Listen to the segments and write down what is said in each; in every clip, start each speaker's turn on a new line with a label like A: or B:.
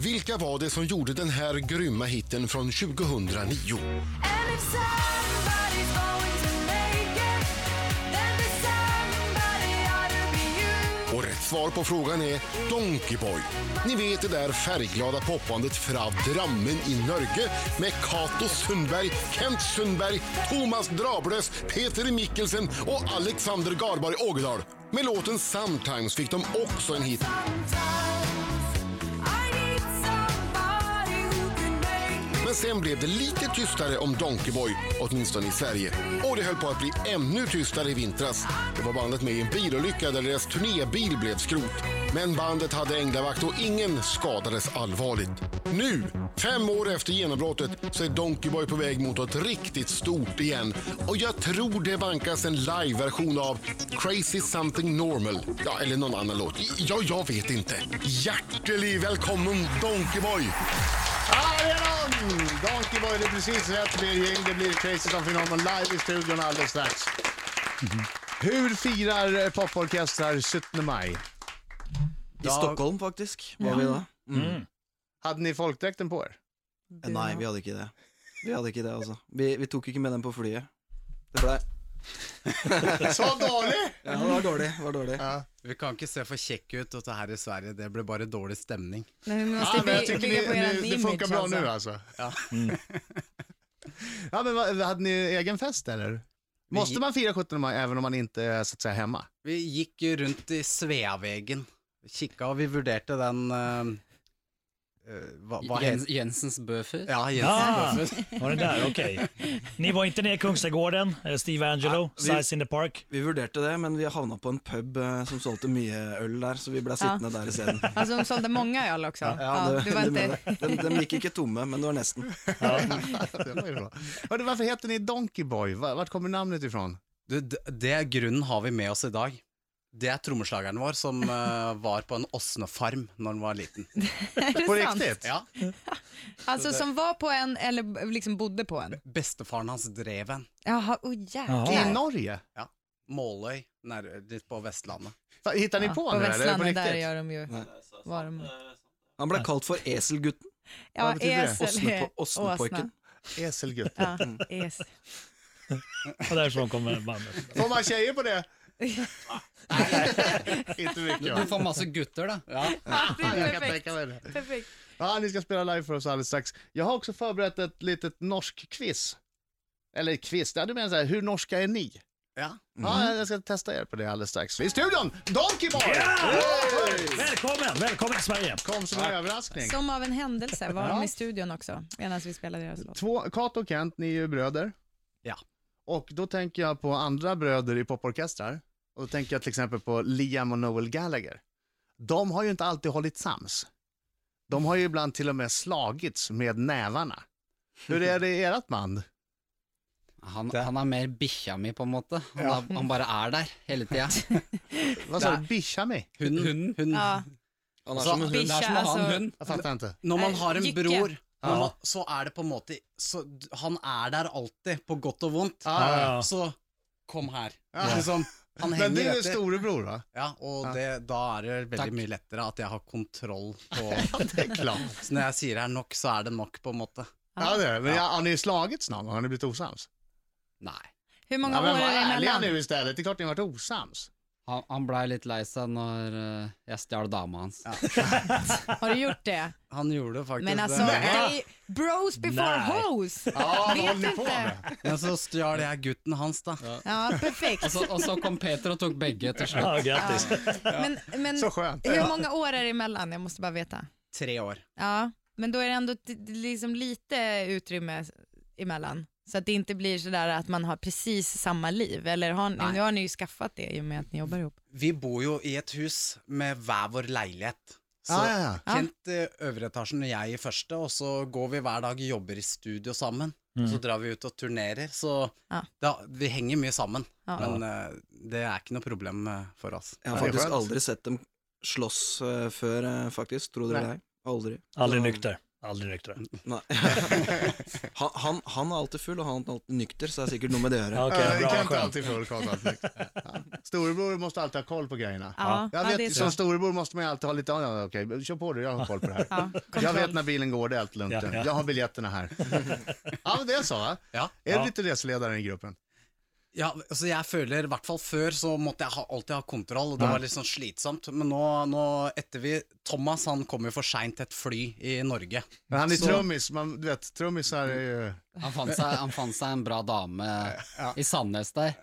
A: Vilka var det som gjorde den här grymma hitten från 2009?
B: And if somebody's going to make it, then the somebody ought to be you.
A: Och rätt svar på frågan är Donkey Boy. Ni vet det där färgglada popbandet fra Drammen i Norge med Cato Sundberg, Kent Sundberg, Thomas Drablös, Peter Mikkelsen och Alexander Garborg Ågedal. Med låten Sometimes fick de också en hit.
B: Sometimes I need somebody who can make me.
A: Men sen blev det lite tystare om Donkey Boy, åtminstone i Sverige. Och det höll på att bli ännu tystare i vintras. Det var bandet med i en bilolycka där deras turnébil blev skrot. Men bandet hade änglavakt och ingen skadades allvarligt. Nu, fem år efter genombrottet, så är Donkey Boy på väg mot något riktigt stort igen. Och jag tror det vankas en liveversion av Crazy Something Normal. Ja, eller någon annan låt. Ja, jag vet inte. Hjärtelig välkommen Donkey Boy!
C: Arjeron! Donkey Boy, det är precis rätt Birging. Det blir Crazy som Phenomenon live i studion alldeles strax. Hur firar eh, poporkestrar 17 maj?
D: I Stockholm faktisk var vi da.
C: Hade ni folkdräkten på er?
D: Eh, Nei, vi hadde ikke det. Vi hadde ikke det, altså. Vi, vi tok ikke med den på flyet. Det blei
C: Så dålig!
D: Ja, det var dårlig. Det var dårlig.
E: Vi kan ikke se for kjekke ut, dette her i Sverige. Det ble bare dårlig stemning.
F: Nej, vi måste
C: Ja, men jag
F: by-
C: tycker
F: bygga på
C: det,
F: eran
C: nu, det
F: image
C: funkar bra
F: alltså.
C: nu alltså. Ja. ja, men vad, hade ni egen fest eller? Måste man fira 17 maj även om man inte är så att säga hemma?
E: Vi gikk jo rundt i Sveavegen. Kikka, og vi vurderte den eh, eh, hva, hva
G: Jens,
E: het
G: Jensens Böfus.
E: Ja,
H: Ah,
E: Jensens Bøffes.
H: var det där? Okej. Ni var inte nere i Kungsträdgården, eh, Steve Angelo,
D: Ja, vi-
H: Size in the Park.
D: Vi vurderte det, men vi havna på en pub eh, som solgte mye øl der, så vi blei sittende der isteden.
F: Alltså de sålde många öl också. Ja,
D: det-
F: det var
D: det
F: inte...
D: mener jeg. de, de gikk ikke tomme, men det var nesten.
C: det var ju bra. Hörde, varför heter ni Donkey Boy? Va- Vart kommer namnet ifrån?
E: Du, d- det grunnen har vi med oss i dag. Det er trommeslageren vår som eh, var på en åsnefarm når han var liten.
F: Är det
C: På
F: sant?
C: riktigt?
E: Ja,
F: Alltså som var på en eller b- liksom bodde på en.
E: Bestefaren hans drev en.
F: Jaha, oj
C: I
F: jäklar.
C: Norge?
E: Måløy, nær, litt på Vestlandet.
C: Va, Hittar ni
F: Ja,
C: på
F: på
C: nu eller? På
F: Västlandet, där
C: riktigt?
F: gör de ju... Var de...
D: Han blei kalt for Eselgutten.
F: Ja, E
C: betyder det?
F: esel...
D: Åsnepo- Åsnepojken.
C: Eselgutt.
F: Ja, E es.
H: Och därifrån kommer bandet.
C: Får man tjejer på det? Nej, inte mycket. va?
G: Du får masse gutter, da.
C: Jag kan tänka mig det.
F: Perfekt.
C: Ja, ni ska spela live för oss alldeles strax. Jag har också förberett ett litet norsk quiz. Eller quiz, ja, du menar så här, hur norska är ni?
E: Ja.
C: Ja, jag ska testa er på det alldeles strax. I studion, Donkey Boy! Hey!
H: Välkommen, välkommen till Sverige.
C: Kom som en överraskning.
F: Som av en händelse var de
C: Ja.
F: i studion också medan vi spelade deras låt.
C: Två, Kato och Kent, ni är ju bröder.
E: Ja.
C: Och då tänker jag på andra bröder i poporkestrar. Och då tänker jag till exempel på Liam och Noel Gallagher. De har ju inte alltid hållit sams. De har ju ibland till och med slagits med nävarna. Hur är det i ert band?
G: Han, han er mer bikkja mi, på en måte. Han, er, han bare er der hele tida.
C: Vad sa du? Bishami?
E: Hunden. Hunden.
F: Ja,
D: Han er
E: Så-
D: som en hund.
G: Det er som å ha en
F: alltså.
G: hund.
C: Jag fattar inte.
E: Når man
F: Eh,
E: har en
F: Jykke.
E: bror,
C: Ja.
E: når man, så er det på en måte så, d- Han er der alltid, på godt og vondt.
C: Ja,
H: ja, ja.
E: Så kom her.
C: Ja.
E: Liksom, han
C: Men du
E: henger
C: är
E: etter.
C: storebror va?
E: Ja, og det, da er det veldig mye lettere at jeg har kontroll på
C: Det är klart.
E: Så når jeg sier det er nok, så er det nok, på en måte.
C: Ja, det är det. Men ja, har ni slagits någon gång? Har ni blivit osams?
E: Nei.
F: Hur
C: Ja,
F: många
C: men
F: år
C: var
F: är det
C: ärliga
F: emellan?
C: nu istället. Det är klart ni har varit osams.
G: Han, han blei litt lei seg når eh, jeg stjal dama hans.
F: Har du gjort det?
E: Han gjorde faktisk
F: Men alltså, det
E: det.
F: är ju bros before
H: Nej.
F: hoes.
C: Ja, vad
F: Vet
C: håller ni på
F: inte.
C: med?
E: Men så stjal jeg gutten hans, da.
F: Ja, perfekt.
C: Alltså,
G: Og så, og så kom Peter og tok begge til slutt.
H: Ja, grattis.
F: Men, men
C: Så skönt.
F: hur många år är det emellan? Jag måste bara veta.
E: Tre år.
F: Ja, men då är det ändå t- liksom lite utrymme emellan. Så att det inte blir sådär att man har precis samma liv. Eller har ni, nu har ni ju skaffat det i och med att ni jobbar ihop.
E: Vi bor jo i et hus med hver vår leilighet. Så
C: Ja, ja, ja.
E: Kent i øvre etasjen og jeg i første, og så går vi hver dag og jobber i studio sammen. Så drar vi ut og turnerer, så
F: Ja.
E: da, vi henger mye sammen.
F: Ja.
E: Men eh, det er ikke noe problem eh, for oss.
D: Jeg har
C: Ja, det er
D: faktisk
C: skönt.
D: aldri sett dem slåss eh, før, eh, faktisk. Tro det eller ei. Aldri.
H: Aldrig nykter. Aldrig nyktra.
D: Nei. Han, han, han er alltid full, og han er alltid nykter, så det er sikkert noe med det å
H: Ja,
D: gjøre.
C: Ja,
H: okay,
C: vi
H: bra,
C: Eh, kan inte
H: skönt.
C: alltid få Karl Sandvik. ja. Storebror måste alltid ha koll på grejerna.
F: Ja,
C: Jag
F: ja, det är
C: vet, som
F: så.
C: storebror måste man ju alltid ha lite, ja, ja, okej, kör på du, jag har koll på det här.
F: Ja,
C: Jag
F: kontroll.
C: vet när bilen går, det är allt lugnt.
H: Ja, ja.
C: Jag har biljetterna här. ja, men det är så va?
E: Ja.
C: Är du
H: Ja.
C: lite reseledaren i gruppen?
E: Ja, altså jeg føler, i hvert fall før, så måtte jeg ha, alltid ha kontroll, og det var litt sånn slitsomt. Men nå, nå etter vi Thomas han kom jo for seint til et fly i Norge.
C: Men han är
E: Så-
C: trummis, man, du vet, trummisar är ju...
G: Han fant seg, han fant seg en bra dame i Sandnes der.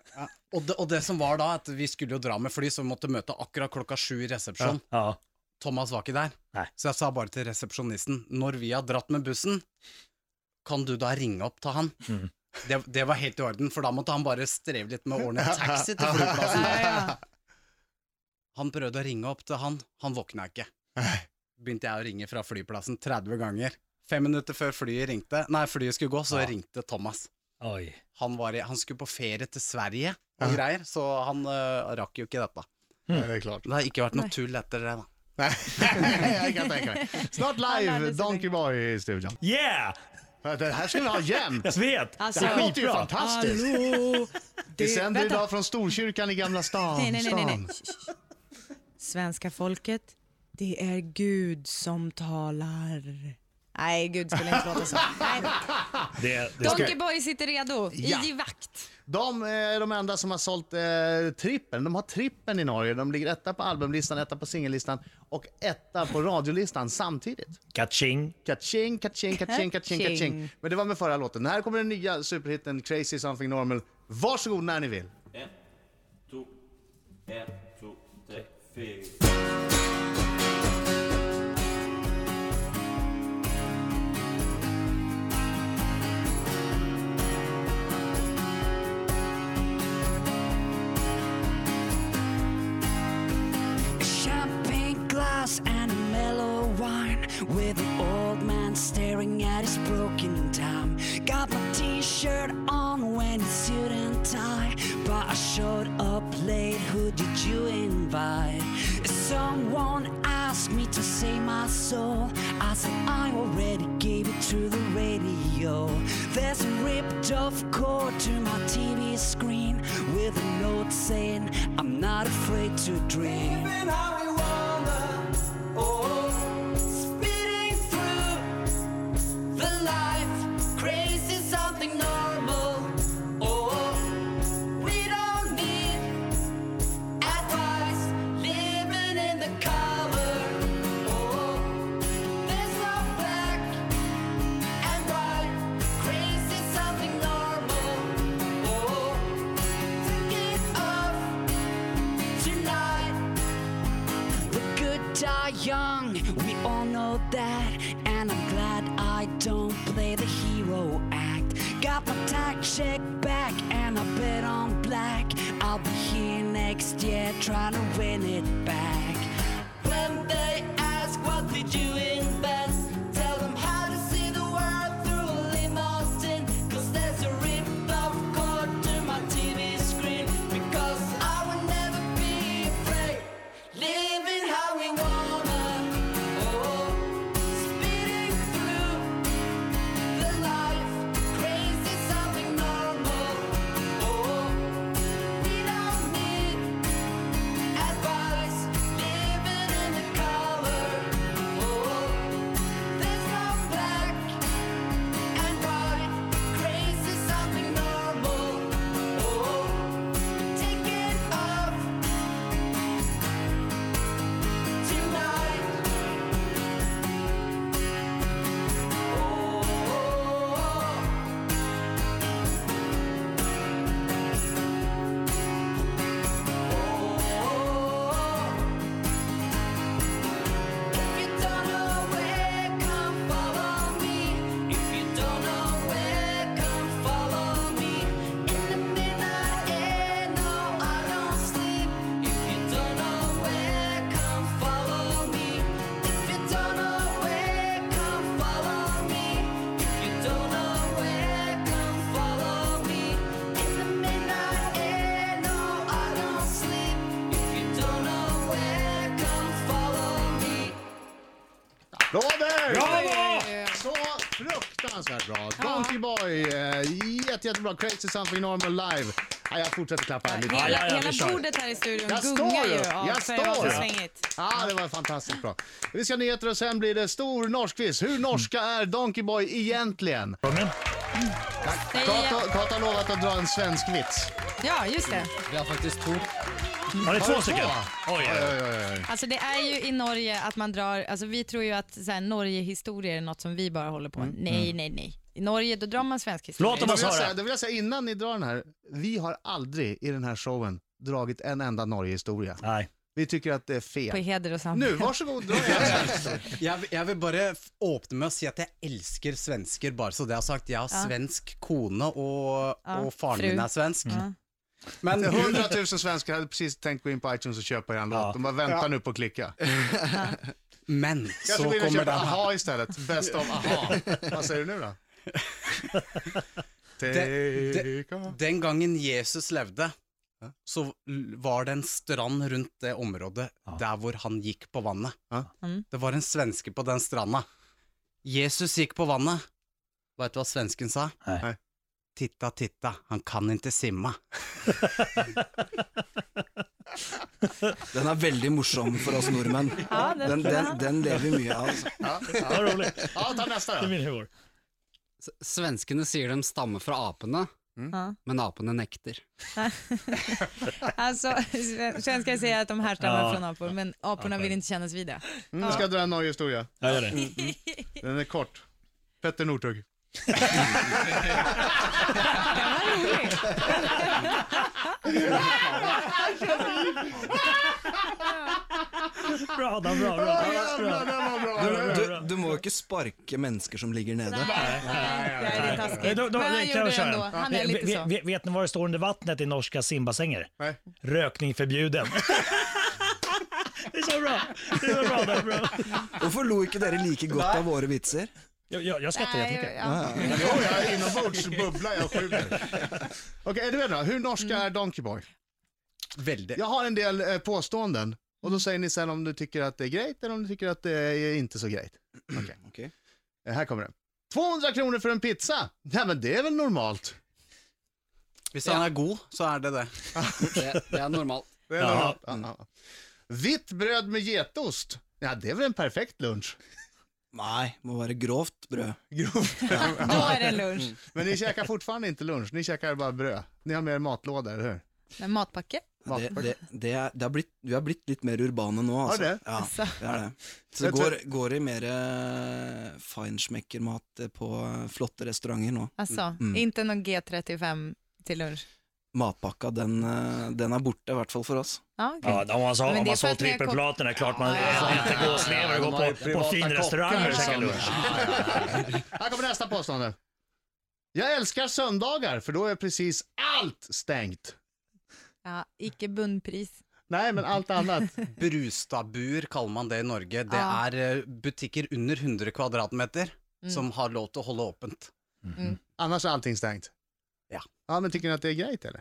E: Og det, og det som var da, at vi skulle jo dra med fly, så vi måtte møte akkurat klokka sju i resepsjon.
H: ja.
E: Thomas var ikke der.
H: Nei.
E: Så jeg sa bare til resepsjonisten Når vi har dratt med bussen, kan du da ringe opp til han?
H: Mhm.
E: Det, det var helt i orden, for da måtte han bare streve litt med å ordne en taxi til flyplassen.
F: Ja, ja.
E: Han prøvde å ringe opp til han, han våkna ikke. Begynte jeg å ringe fra flyplassen 30 ganger. Fem minutter før flyet ringte, nei, flyet skulle gå, så
H: Ja.
E: ringte Thomas.
H: Oi.
E: Han, var i, han skulle på ferie til Sverige og greier, så han øh, rakk jo ikke dette.
H: Mm.
C: Nej, det är klart.
E: Det har ikke vært noe tull etter det, da.
C: Nej, jag kan tänka mig. Snart
F: Han
C: live,
F: lärde sig
C: Donkey Boy i studion.
H: Yeah!
C: Det här ska vi ha jämt!
H: Jag vet!
F: Alltså,
C: Det här låter ju
H: Skitbra.
C: fantastiskt!
F: Hallå!
C: Vi sänder
F: vänta.
C: idag från Storkyrkan i Gamla stan.
F: Nej, nej, nej, nej, nej.
C: Stan.
F: Shh, shh, shh. Svenska folket, det är Gud som talar. Nej, Gud skulle inte låta så. Nej.
H: Det, det ska...
F: Donkey Boy sitter redo
C: Ja.
F: i vakt.
C: De eh, är de enda som har sålt eh, trippen. De har trippen i Norge. De ligger etta på albumlistan, etta på singellistan och etta på radiolistan samtidigt.
H: Catching.
C: Kaching, kaching, kaching, kaching, kaching.
F: Ka-ching.
C: Men det var med förra låten. Här kommer den nya superhitten Crazy Something Normal. Varsågod när ni vill.
I: champagne glass and a mellow wine with an old man staring at his broken time got my t-shirt on when it's suit and tie but i showed up late who did you invite someone asked me to save my soul i said i already gave it to the radio there's a ripped off cord to my tv screen with a note saying i'm not afraid to dream
B: Spitting oh, through the life, crazy something normal. Oh, we don't need advice, living in the color. Oh, there's no black and white, crazy something normal. Oh, to get off tonight.
I: The good die young, we all know that. And I'm glad I don't play the hero act. Got my tack check back and I bet on black. I'll be here next year trying to win it back.
B: When they ask what did you invest, tell them how to see the world through a limousine. 'Cause there's a rip-off cord to my TV screen. Because I would never be afraid, living how we wanna. Oh, speeding through the life, crazy something normal. Oh, we don't need advice. Oh, Oh, Oh,
C: Robert!
H: Bravo!
C: Så fruktansvärt bra! Donkey Boy, eh, jätte, jättebra. Crazy Something Normal Live. Ja, jag fortsätter klappa här lite.
F: Hela,
H: ja, ja, vi
F: hela
H: kör.
F: bordet här i studion
C: Jag
F: gungar
C: står
F: ju
C: upp.
F: av
C: Jag
F: för att det
C: står
F: är
C: upp.
F: svängigt.
C: Ja, det var fantastiskt bra. Vi ska ha nyheter och sen blir det stor norskquiz. Hur norska är Donkey Boy egentligen?
H: Kungen.
F: Nej,
C: Kata, Kata har lovat att dra en svensk vits.
F: Ja, just det.
G: Vi har faktiskt två.
H: Ja, det är två stycken. Oj, oj, oj.
F: Alltså det är ju i Norge att man drar, alltså vi tror ju att så här, Norgehistorier är något som vi bara håller på med. Nej, nej, nej. I Norge då drar man svensk historia.
H: Låt dem
C: Då
H: oss
C: vill, jag säga,
H: höra.
C: då vill jag säga innan ni drar den här, vi har aldrig i den här showen dragit en enda Norge-historia.
H: Nej.
C: Vi tycker att det är
F: På
C: fel.
F: heder och
C: Nu,
F: samvete.
C: varsågod, dra igen.
E: Jeg, vil- jeg vil bare f- åpne med å si at jeg elsker svensker, bare så det er sagt. Jeg har svensk kone, og,
F: Ja,
E: og faren
F: fru.
E: min er svensk.
F: Ja.
E: Men hun,
C: 100 000 svenskar hade precis tänkt gå in på iTunes och köpa er låt. De bara väntar nu på att klicka.
E: men så
C: Kanske blir det
E: kommer
C: köpa
E: den her.
C: AHA istället. Bäst av AHA. Vad säger du nu då?
E: det-
C: Take off.
E: Den gangen Jesus levde, så l- var det en strand rundt det området der hvor han gikk på vannet.
C: Ja.
F: Mm.
E: Det var en svenske på den stranda. Jesus gikk på vannet. Vet du hva svensken sa?
H: Nei.
C: Nei.
E: Titta, titta, han kan ikke simma.
D: Den er veldig morsom for oss nordmenn.
F: Ja, det
D: Den,
F: tror
D: den,
F: jag.
D: den lever vi mye av. Altså.
C: Ja,
H: Det
C: ja.
H: var roligt.
C: ja, ta nästa
H: Det
C: då.
H: vinner igår.
G: S- Svenskene sier de stammer fra apene,
F: Ja.
G: men apene nekter.
F: Alltså, sven- svenskar säger att de härstammar
H: Ja.
F: från apor, men aporna
H: Apor.
F: vill inte kännas vid det.
C: Mm, ska jag dra en Norge-historia?
H: Jag gör det.
C: Den är kort. Petter Northug.
H: Bra, Adam, bra, bra.
C: Jävlar,
H: bra.
C: den var bra.
D: Du, du må jo ikke sparke mennesker som ligger nede.
F: Nej, det är
H: Eh,
F: taskigt.
H: då- då-
F: Men han
H: kan
F: gjorde
H: jag
F: det
H: köra
F: ändå.
H: en?
F: Han är
H: Ve-
F: lite
H: ve-
F: så.
H: ve- Vet ni vad det står under vattnet i norska simbassänger?
C: Nej.
H: Rökning förbjuden. Det är så bra. Det är så bra, det är bra.
D: Hvorfor lo ikke dere like godt av våre vitser?
H: Jag, jag, jag skrattar
F: Nej,
H: jättemycket.
F: ja.
C: Jo, jag är inombords bubbla, jag sjuder. Okej, är du med då? Hur norska är Donkey Boy?
E: Veldig.
C: Jag har en del eh, påståenden och då säger ni sen om du tycker att det är grejt eller om du tycker att det är inte så grejt. Okej.
D: Okej.
C: Eh, Här kommer det. 200 kronor för en pizza? Nej men det är väl normalt?
E: Hvis han er god, så er det det.
G: Det, det är normalt.
C: Det är normalt. Ja, ja, ja. Vitt bröd med getost? Ja det är väl en perfekt lunch?
D: Nei, må være grovt brød.
C: Grovt.
F: Då är det lunch.
C: Men ni käkar fortfarande inte lunch, ni käkar bara bröd. Ni har med er matlåda, eller hur?
F: Men matpacke?
D: Det, det, det er, det har blitt, vi har blitt litt mer urbane nå,
C: Har
D: altså.
C: det?
D: Ja,
F: Så.
D: vi har det. Så det
C: Vet
D: går, går i mer eh, feinschmeckermat på eh, flotte restauranter nå.
F: Alltså,
D: Mm.
F: inte någon G35 till lunch.
D: Matpakka, den, eh, den er borte, i hvert fall for oss.
F: Ja, okej.
H: Ja, om man
F: Men
H: sa,
F: det
H: om
F: är
H: man
F: för
H: sa
F: att ni har
H: trippelplaten är klart man
C: Ja, ja, ja,
H: äter
C: ja,
H: gåslever
C: ja,
H: och
C: de har ju
H: går på, på
C: privata
H: fin
C: kockar
H: restaurang och
C: som-
H: käkar lunch.
C: Här kommer nästa påstående. Jag älskar söndagar för då är precis allt stängt.
F: Ja, icke bundpris.
C: Nej, men allt annat.
E: Brustadbuer kaller man det i Norge. Det
F: Ja. Mm.
E: er eh, butikker under 100 kvadratmeter som har lov til å holde åpent.
C: Annars är allting stängt.
E: Ja.
C: Ja, men tycker ni att det är grejt eller?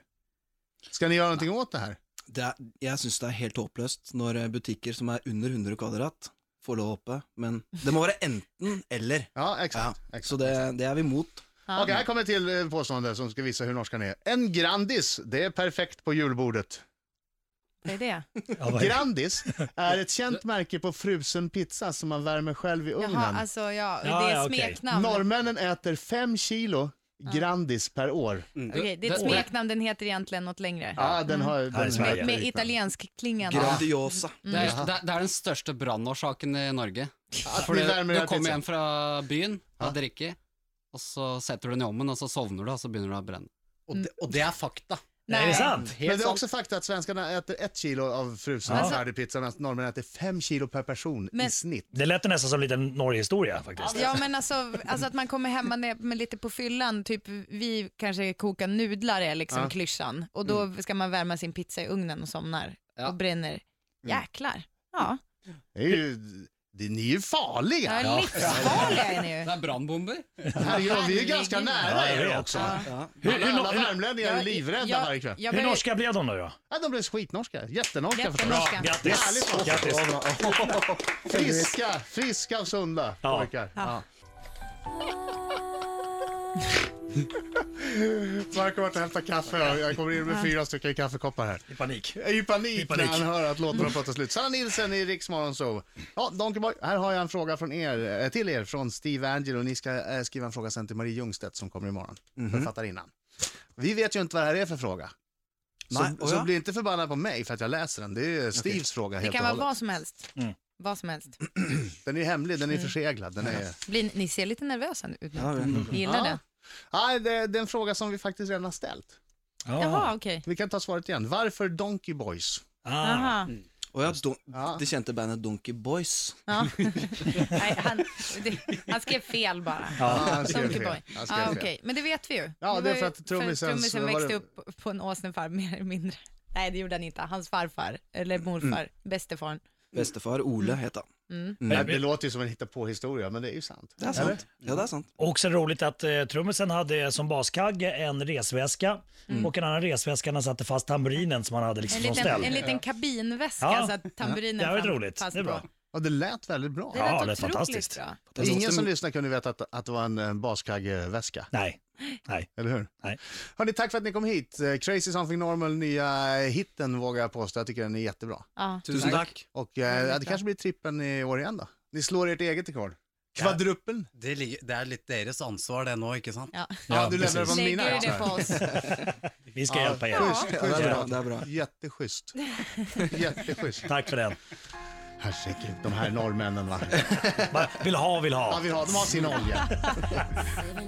C: Ska ni göra någonting åt det här?
D: Det er, jeg syns det er helt håpløst når eh, butikker som er under 100 kvadrat, får lov å åpne, men det må være enten eller.
C: Ja,
D: Ja,
C: exakt. exakt.
D: så det, det er vi imot.
F: Ja.
C: Okej, här kommer ett till eh, påstående som ska visa hur norskan är. En Grandis, det är perfekt på julbordet.
F: Det är det.
H: Ja, vad-
C: Grandis är ett känt märke på frusen pizza som man värmer själv i ugnen.
F: Jaha, alltså ja, det
H: Ja,
F: är
H: ja, okej.
F: smeknamn.
C: Norrmännen äter 5 kilo Grandis per år.
F: Okej, det är ett
G: Mm. Det- det-
F: smeknamn, den heter egentligen något längre.
C: Mm. Ja, den har... Den
H: Här i Sverige.
F: Med, med italiensk klingande.
D: Grandiosa.
G: Det er, det, er- det er den største brannårsaken i Norge.
C: Att
G: For
C: ni
G: det,
C: värmer
G: du
C: era
G: kommer
C: pizza.
G: hjem fra byen, har drikket, og så setter du den i ovnen, og så sovner du, og så begynner du å brenne.
E: Og det, og det er fakta.
H: Är det sant?
C: Men det är också fakta att svenskarna äter ett kilo av frusen
F: Ja.
C: färdig pizza medan norrmännen äter fem kilo per person i
F: Men-
C: snitt.
H: Det lät nästan som en liten Norgehistoria faktiskt.
F: Ja men alltså, alltså att man kommer hemma ner med lite på fyllan, typ vi kanske kokar nudlar är liksom
C: Ja. Mm.
F: klyschan och då ska man värma sin pizza i ugnen och somnar
G: Ja.
C: Mm.
F: och bränner. Jäklar. Ja,
C: Det är ju Det, ni är ju farliga!
F: Ja, livsfarliga är ni ju.
G: Det er brannbomber.
C: Herregud, vi är ju ganska nära er också.
H: Hur, hur,
C: Alla, alla
H: hur,
C: värmlänningar är livrädda
F: jag-
C: varje kväll.
F: jag
H: hur
F: börjar-
H: norska blev de då? då?
C: Ja, de blev skitnorska, jättenorska förstås.
H: Bra,
F: Jättenorska.
H: grattis!
C: Härligt.
H: grattis.
C: Friska, friska och sunda
H: Ja.
C: pojkar. Ja. Marco har varit och hämtat kaffe och jag kommer in med fyra stycken kaffekoppar här.
H: I panik.
C: Jag är i panik,
H: I panik. Mm.
C: när han hör att låtarna pratar slut. Sanna Nilsen i Rix Morgonzoo. Ja, Donkey Boy, här har jag en fråga från er, eh, till er från Steve Angelo. Ni ska eh, skriva en fråga sen till Marie Ljungstedt som kommer imorgon,
D: Mhm.
C: författarinnan. Vi vet ju inte vad det här är för fråga. Så,
D: Nej, och
C: så
D: ja.
C: bli inte förbannad på mig för att jag läser den. Det är Steves fråga
F: Det
C: helt
F: kan
C: och
F: vara
C: hållet.
F: vad som helst.
H: Mm.
F: Vad som helst.
C: Den är hemlig, den är
F: Mm.
C: förseglad. Den är...
F: Blir, ni- ni ser lite nervösa nu ut.
D: Ja,
F: nu.
D: jag vet inte.
F: Ni gillar
C: Ja.
F: det?
C: Nej, det, det är en fråga som vi faktiskt redan har ställt.
H: Ja.
F: Jaha, okej.
C: Vi kan ta svaret igen. Varför Donkey Boys?
H: Ah.
F: Jaha.
D: Och ja, don-
C: Ja.
D: det kände bandet Donkey Boys.
F: Ja. Nej, han, det, han skrev fel bara.
C: Ja, han skrev
F: Donkey
C: fel.
F: Boy.
C: Han skrev
F: Ah,
C: fel.
F: okej. Men det vet vi ju.
C: Ja, det är
F: var ju
C: för att trummisen så var
F: växte
C: det-
F: upp på en åsnefarm, mer eller mindre. Nej, det gjorde han inte. Hans farfar, eller
C: Mm.
F: morfar, bästefaren.
D: Bestefar Ole heter han.
C: Nej, det låter ju som en hittepåhistoria, men det är ju sant.
D: Det är sant. Ja, det är sant.
H: Och Också roligt att eh, trummisen hade som baskagge en resväska och en annan resväska när han satte fast tamburinen som han hade liksom
F: Mm. En
H: från
F: liten,
H: ställ.
F: en liten kabinväska
H: Ja.
F: så att tamburinen
H: Det här var
F: fan-
H: roligt.
F: fast
H: Det är bra.
F: på.
C: Ja, det lät väldigt bra.
F: Det
H: Ja,
F: lät
H: det är
F: otroligt
H: fantastiskt.
F: bra.
D: Det
C: Ingen
D: låter-
C: som lyssnar kunde veta att, att det var en, en baskaggeväska,
H: Nej, nej.
C: eller hur?
H: Nej.
C: Hörni, tack för att ni kom hit. Eh, Crazy Something Normal, nya hitten vågar jag påstå. Jag tycker den är jättebra.
F: Ja.
D: Tusen tack.
C: Och eh, ja, det kanske blir trippen i år igen då. Ni slår ert eget rekord. Kvadruppeln?
E: Det, li- det er litt deres ansvar det nå, ikke sant?
F: Ja.
C: Ja, du lämnar det
H: precis.
C: på mina.
F: Lägger du det
C: axlar.
F: på oss?
H: Vi ska hjälpa er.
C: Schysst,
D: Ja, det
C: schysst.
D: är bra. Det är bra.
C: Jätteschysst. Jätteschysst.
H: Tack för den.
C: Herregud, de här norrmännen va.
H: Bara, Vill ha, vill ha.
C: Ja, vi har, de har sin olja.